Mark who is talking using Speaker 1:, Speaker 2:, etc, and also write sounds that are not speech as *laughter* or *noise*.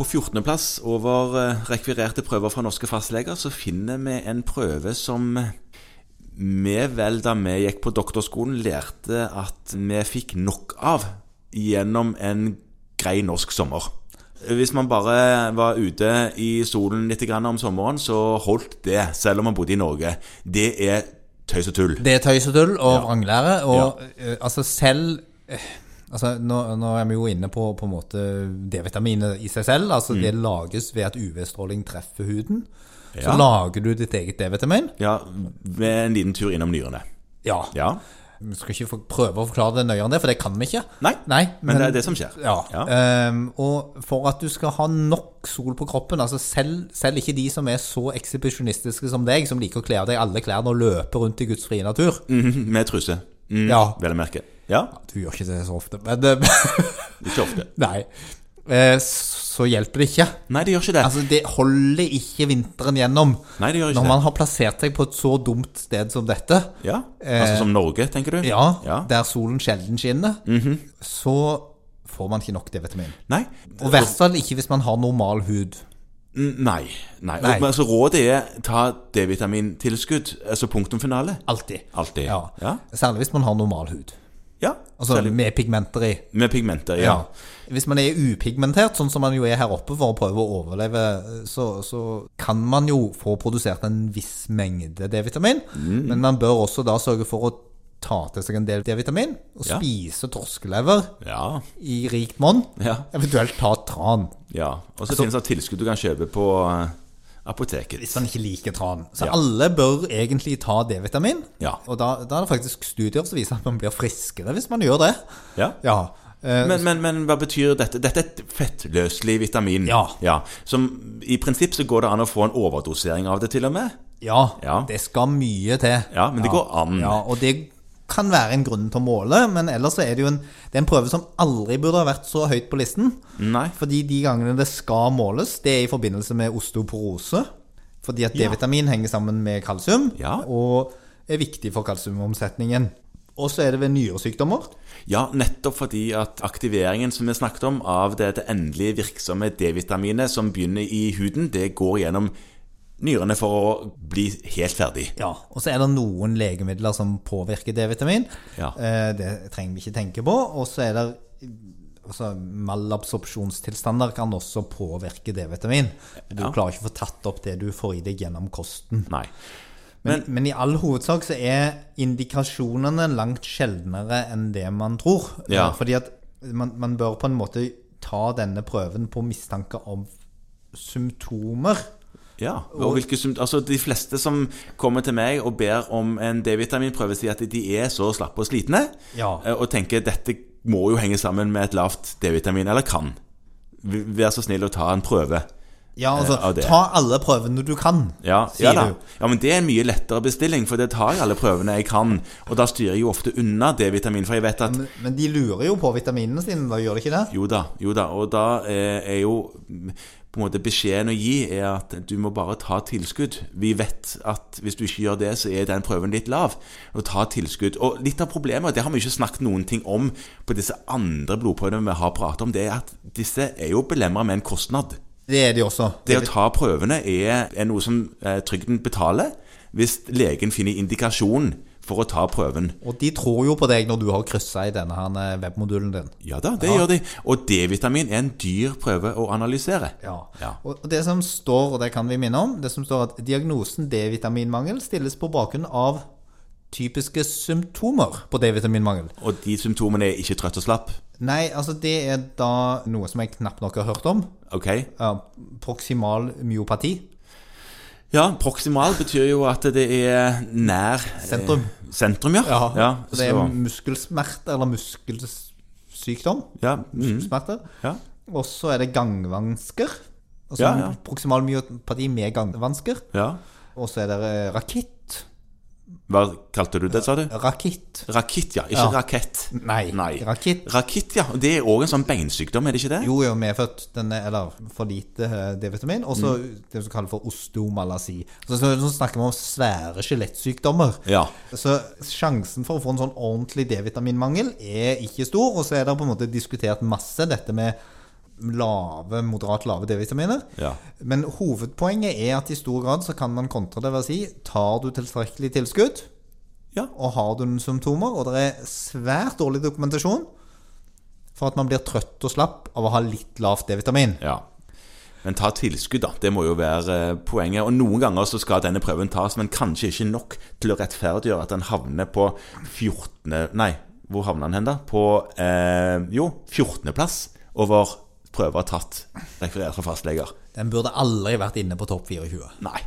Speaker 1: På 14.-plass over eh, rekvirerte prøver fra norske fastleger så finner vi en prøve som vi vel da vi gikk på doktorskolen lærte at vi fikk nok av gjennom en grei norsk sommer. Hvis man bare var ute i solen litt grann om sommeren, så holdt det, selv om man bodde i Norge. Det er tøys og tull.
Speaker 2: Det er tøys og tull og vranglære. Og eh, altså selv eh, altså, nå, nå er vi jo inne på, på en måte D-vitaminet i seg selv. Altså
Speaker 1: Mm.
Speaker 2: Det lages ved at UV-stråling treffer huden. Så
Speaker 1: Ja.
Speaker 2: lager du ditt eget D-vitamin.
Speaker 1: Ja, med en liten tur innom nyrene.
Speaker 2: Ja.
Speaker 1: Ja.
Speaker 2: Vi skal ikke for- prøve å forklare det nøyere enn det, for det kan vi ikke.
Speaker 1: Nei,
Speaker 2: Nei
Speaker 1: men, det er det som skjer.
Speaker 2: Ja. Ehm, og for at du skal ha nok sol på kroppen, altså selv, selv ikke de som er så ekshibisjonistiske som deg, som liker å kle av deg alle klærne og løpe rundt i Guds frie natur
Speaker 1: Mhm, *laughs* Med truse, mm,
Speaker 2: Ja,
Speaker 1: vel å merke. Ja,
Speaker 2: du gjør ikke det så ofte, men eh, *laughs*
Speaker 1: ikke ofte.
Speaker 2: Nei. Eh, så hjelper det ikke.
Speaker 1: Nei, det gjør ikke det.
Speaker 2: Altså, det holder ikke vinteren gjennom.
Speaker 1: Nei, det gjør ikke
Speaker 2: Når
Speaker 1: det.
Speaker 2: man har plassert seg på et så dumt sted som dette,
Speaker 1: Ja, altså som Norge, tenker du?
Speaker 2: eh, ja,
Speaker 1: Ja. Mhm.
Speaker 2: der solen sjelden skinner, så får man ikke nok D-vitamin.
Speaker 1: Nei.
Speaker 2: Og i hvert fall ikke hvis man har normal hud.
Speaker 1: N- Nei. nei. Og,
Speaker 2: Nei.
Speaker 1: men altså, rådet er ta D-vitamintilskudd, altså punktum finale.
Speaker 2: Alltid.
Speaker 1: Alltid.
Speaker 2: Ja.
Speaker 1: Ja.
Speaker 2: Særlig hvis man har normal hud.
Speaker 1: Ja,
Speaker 2: Altså
Speaker 1: særlig
Speaker 2: med pigmenter i.
Speaker 1: med pigmenter, ja.
Speaker 2: Ja. Hvis man er upigmentert, sånn som man jo er her oppe for å prøve å overleve, så, så kan man jo få produsert en viss mengde D-vitamin.
Speaker 1: Mm.
Speaker 2: Men man bør også da sørge for å ta til seg en del D-vitamin, og
Speaker 1: Ja.
Speaker 2: spise torskelever
Speaker 1: Ja.
Speaker 2: i rikt monn.
Speaker 1: Ja.
Speaker 2: Eventuelt ta tran,
Speaker 1: ja. Og så finnes det tilskudd du kan kjøpe på eh, apoteket.
Speaker 2: Altså- hvis man ikke liker tran. Så
Speaker 1: Ja.
Speaker 2: alle bør egentlig ta D-vitamin.
Speaker 1: Ja.
Speaker 2: Og da, da er det faktisk studier som viser at man blir friskere hvis man gjør det.
Speaker 1: Ja.
Speaker 2: Ja. Eh,
Speaker 1: Men, men, men hva betyr dette? Dette er et fettløselig vitamin.
Speaker 2: Ja.
Speaker 1: Som i prinsipp så går det an å få en overdosering av det, til og med.
Speaker 2: Ja,
Speaker 1: Ja.
Speaker 2: det skal mye til.
Speaker 1: Ja, men det går an.
Speaker 2: Ja, og det kan være en grunn til å måle, men ellers så er det jo en, det er en prøve som aldri burde ha vært så høyt på listen.
Speaker 1: Nei.
Speaker 2: Fordi de gangene det skal måles, det er i forbindelse med osteoporose. Fordi at D-vitamin henger sammen med kalsium,
Speaker 1: Ja.
Speaker 2: og er viktig for kalsiumomsetningen. Og så er det ved nyresykdommer.
Speaker 1: Ja, nettopp fordi at aktiveringen som vi snakket om av dette endelig virksomme D-vitaminet som begynner i huden, det går gjennom nyrene for å bli helt ferdig.
Speaker 2: Ja, og så er det noen legemidler som påvirker D-vitamin.
Speaker 1: Ja.
Speaker 2: Eh, Det trenger vi ikke tenke på. Og så er det altså, malabsorpsjonstilstander kan også påvirke D-vitamin. Du
Speaker 1: Ja.
Speaker 2: klarer ikke å få tatt opp det du får i deg gjennom kosten.
Speaker 1: Nei.
Speaker 2: Men, men i all hovedsak så er indikasjonene langt sjeldnere enn det man tror.
Speaker 1: Ja.
Speaker 2: Eh, Fordi at man, man bør på en måte ta denne prøven på mistanke om symptomer.
Speaker 1: Ja, og hvilke, sym- altså De fleste som kommer til meg og ber om en D-vitaminprøve, sier at de er så slappe og slitne
Speaker 2: Ja.
Speaker 1: eh, og tenker dette må jo henge sammen med et lavt D-vitamin, eller kan. V- Vær så snill å ta en prøve.
Speaker 2: Ja,
Speaker 1: eh, av
Speaker 2: altså,
Speaker 1: det.
Speaker 2: ta alle prøvene du kan,
Speaker 1: Ja, ja
Speaker 2: sier
Speaker 1: da.
Speaker 2: du.
Speaker 1: Ja, men det er en mye lettere bestilling, for det tar jeg alle prøvene jeg kan. Og da styrer jeg jo ofte unna D-vitamin, for jeg vet at
Speaker 2: Men, men de lurer jo på vitaminene sine, da gjør de ikke det?
Speaker 1: jo da, jo da. Og da eh, er jo mm, på en måte beskjeden å gi er at du må bare ta tilskudd. Vi vet at hvis du ikke gjør det, så er den prøven litt lav. Og ta tilskudd. Og litt av problemet, det har vi ikke snakket noen ting om på disse andre blodprøvene vi har pratet om, det er at disse er jo belemra med en kostnad.
Speaker 2: Det er de også.
Speaker 1: Det å ta prøvene er, er noe som eh, trygden betaler hvis legen finner indikasjon for å ta prøven.
Speaker 2: Og de tror jo på deg når du har kryssa i denne her eh, webmodulen din.
Speaker 1: Ja da, det gjør de. Og D-vitamin er en dyr prøve å analysere.
Speaker 2: Ja.
Speaker 1: Ja.
Speaker 2: Og og det som står, og det kan vi minne om, det som står at diagnosen D-vitaminmangel stilles på bakgrunn av typiske symptomer på D-vitaminmangel.
Speaker 1: Og de symptomene er ikke trøtt og slapp.
Speaker 2: Nei, altså det er da noe som jeg knapt nok har hørt om.
Speaker 1: Ok?
Speaker 2: Ja, proksimal myopati.
Speaker 1: Ja, proksimal betyr jo at det er nær
Speaker 2: Sentrum.
Speaker 1: Eh, sentrum, ja.
Speaker 2: så det er
Speaker 1: så-
Speaker 2: muskelsmerter eller muskelsykdom.
Speaker 1: ja, mm,
Speaker 2: Smerter.
Speaker 1: ja.
Speaker 2: Og så er det gangvansker. Altså
Speaker 1: Ja, ja.
Speaker 2: proksimal myopati med gangvansker.
Speaker 1: Ja.
Speaker 2: Og så er det eh, rakitt.
Speaker 1: Hva kalte du det, sa du?
Speaker 2: Rakitt.
Speaker 1: Rakitt, ja. Ikke
Speaker 2: Ja.
Speaker 1: rakett.
Speaker 2: Nei.
Speaker 1: Nei.
Speaker 2: Rakitt.
Speaker 1: Rakitt, ja. Det er òg en sånn beinsykdom, er det ikke det?
Speaker 2: Jo, jo, medfødt denne, eller for lite eh, D-vitamin, og så
Speaker 1: Mm.
Speaker 2: det som kalles for osteomalasi. Så, så, så snakker vi om svære skjelettsykdommer.
Speaker 1: Ja.
Speaker 2: Så sjansen for å få en sånn ordentlig D-vitaminmangel er ikke stor, og så er det på en måte diskutert masse dette med lave, moderat lave D-vitaminer.
Speaker 1: Ja.
Speaker 2: Men hovedpoenget er at i stor grad så kan man kontra det ved å si tar du tilstrekkelig tilskudd,
Speaker 1: Ja.
Speaker 2: og har du noen symptomer, og det er svært dårlig dokumentasjon for at man blir trøtt og slapp av å ha litt lavt D-vitamin.
Speaker 1: ja. Men ta tilskudd, da. Det må jo være eh, poenget. Og noen ganger så skal denne prøven tas, men kanskje ikke nok til å rettferdiggjøre at den havner på 14. Nei, hvor havner den hen, da? På eh, jo, 14.-plass over prøver tatt referert fra fastleger.
Speaker 2: Den burde aldri vært inne på topp 24.
Speaker 1: Nei.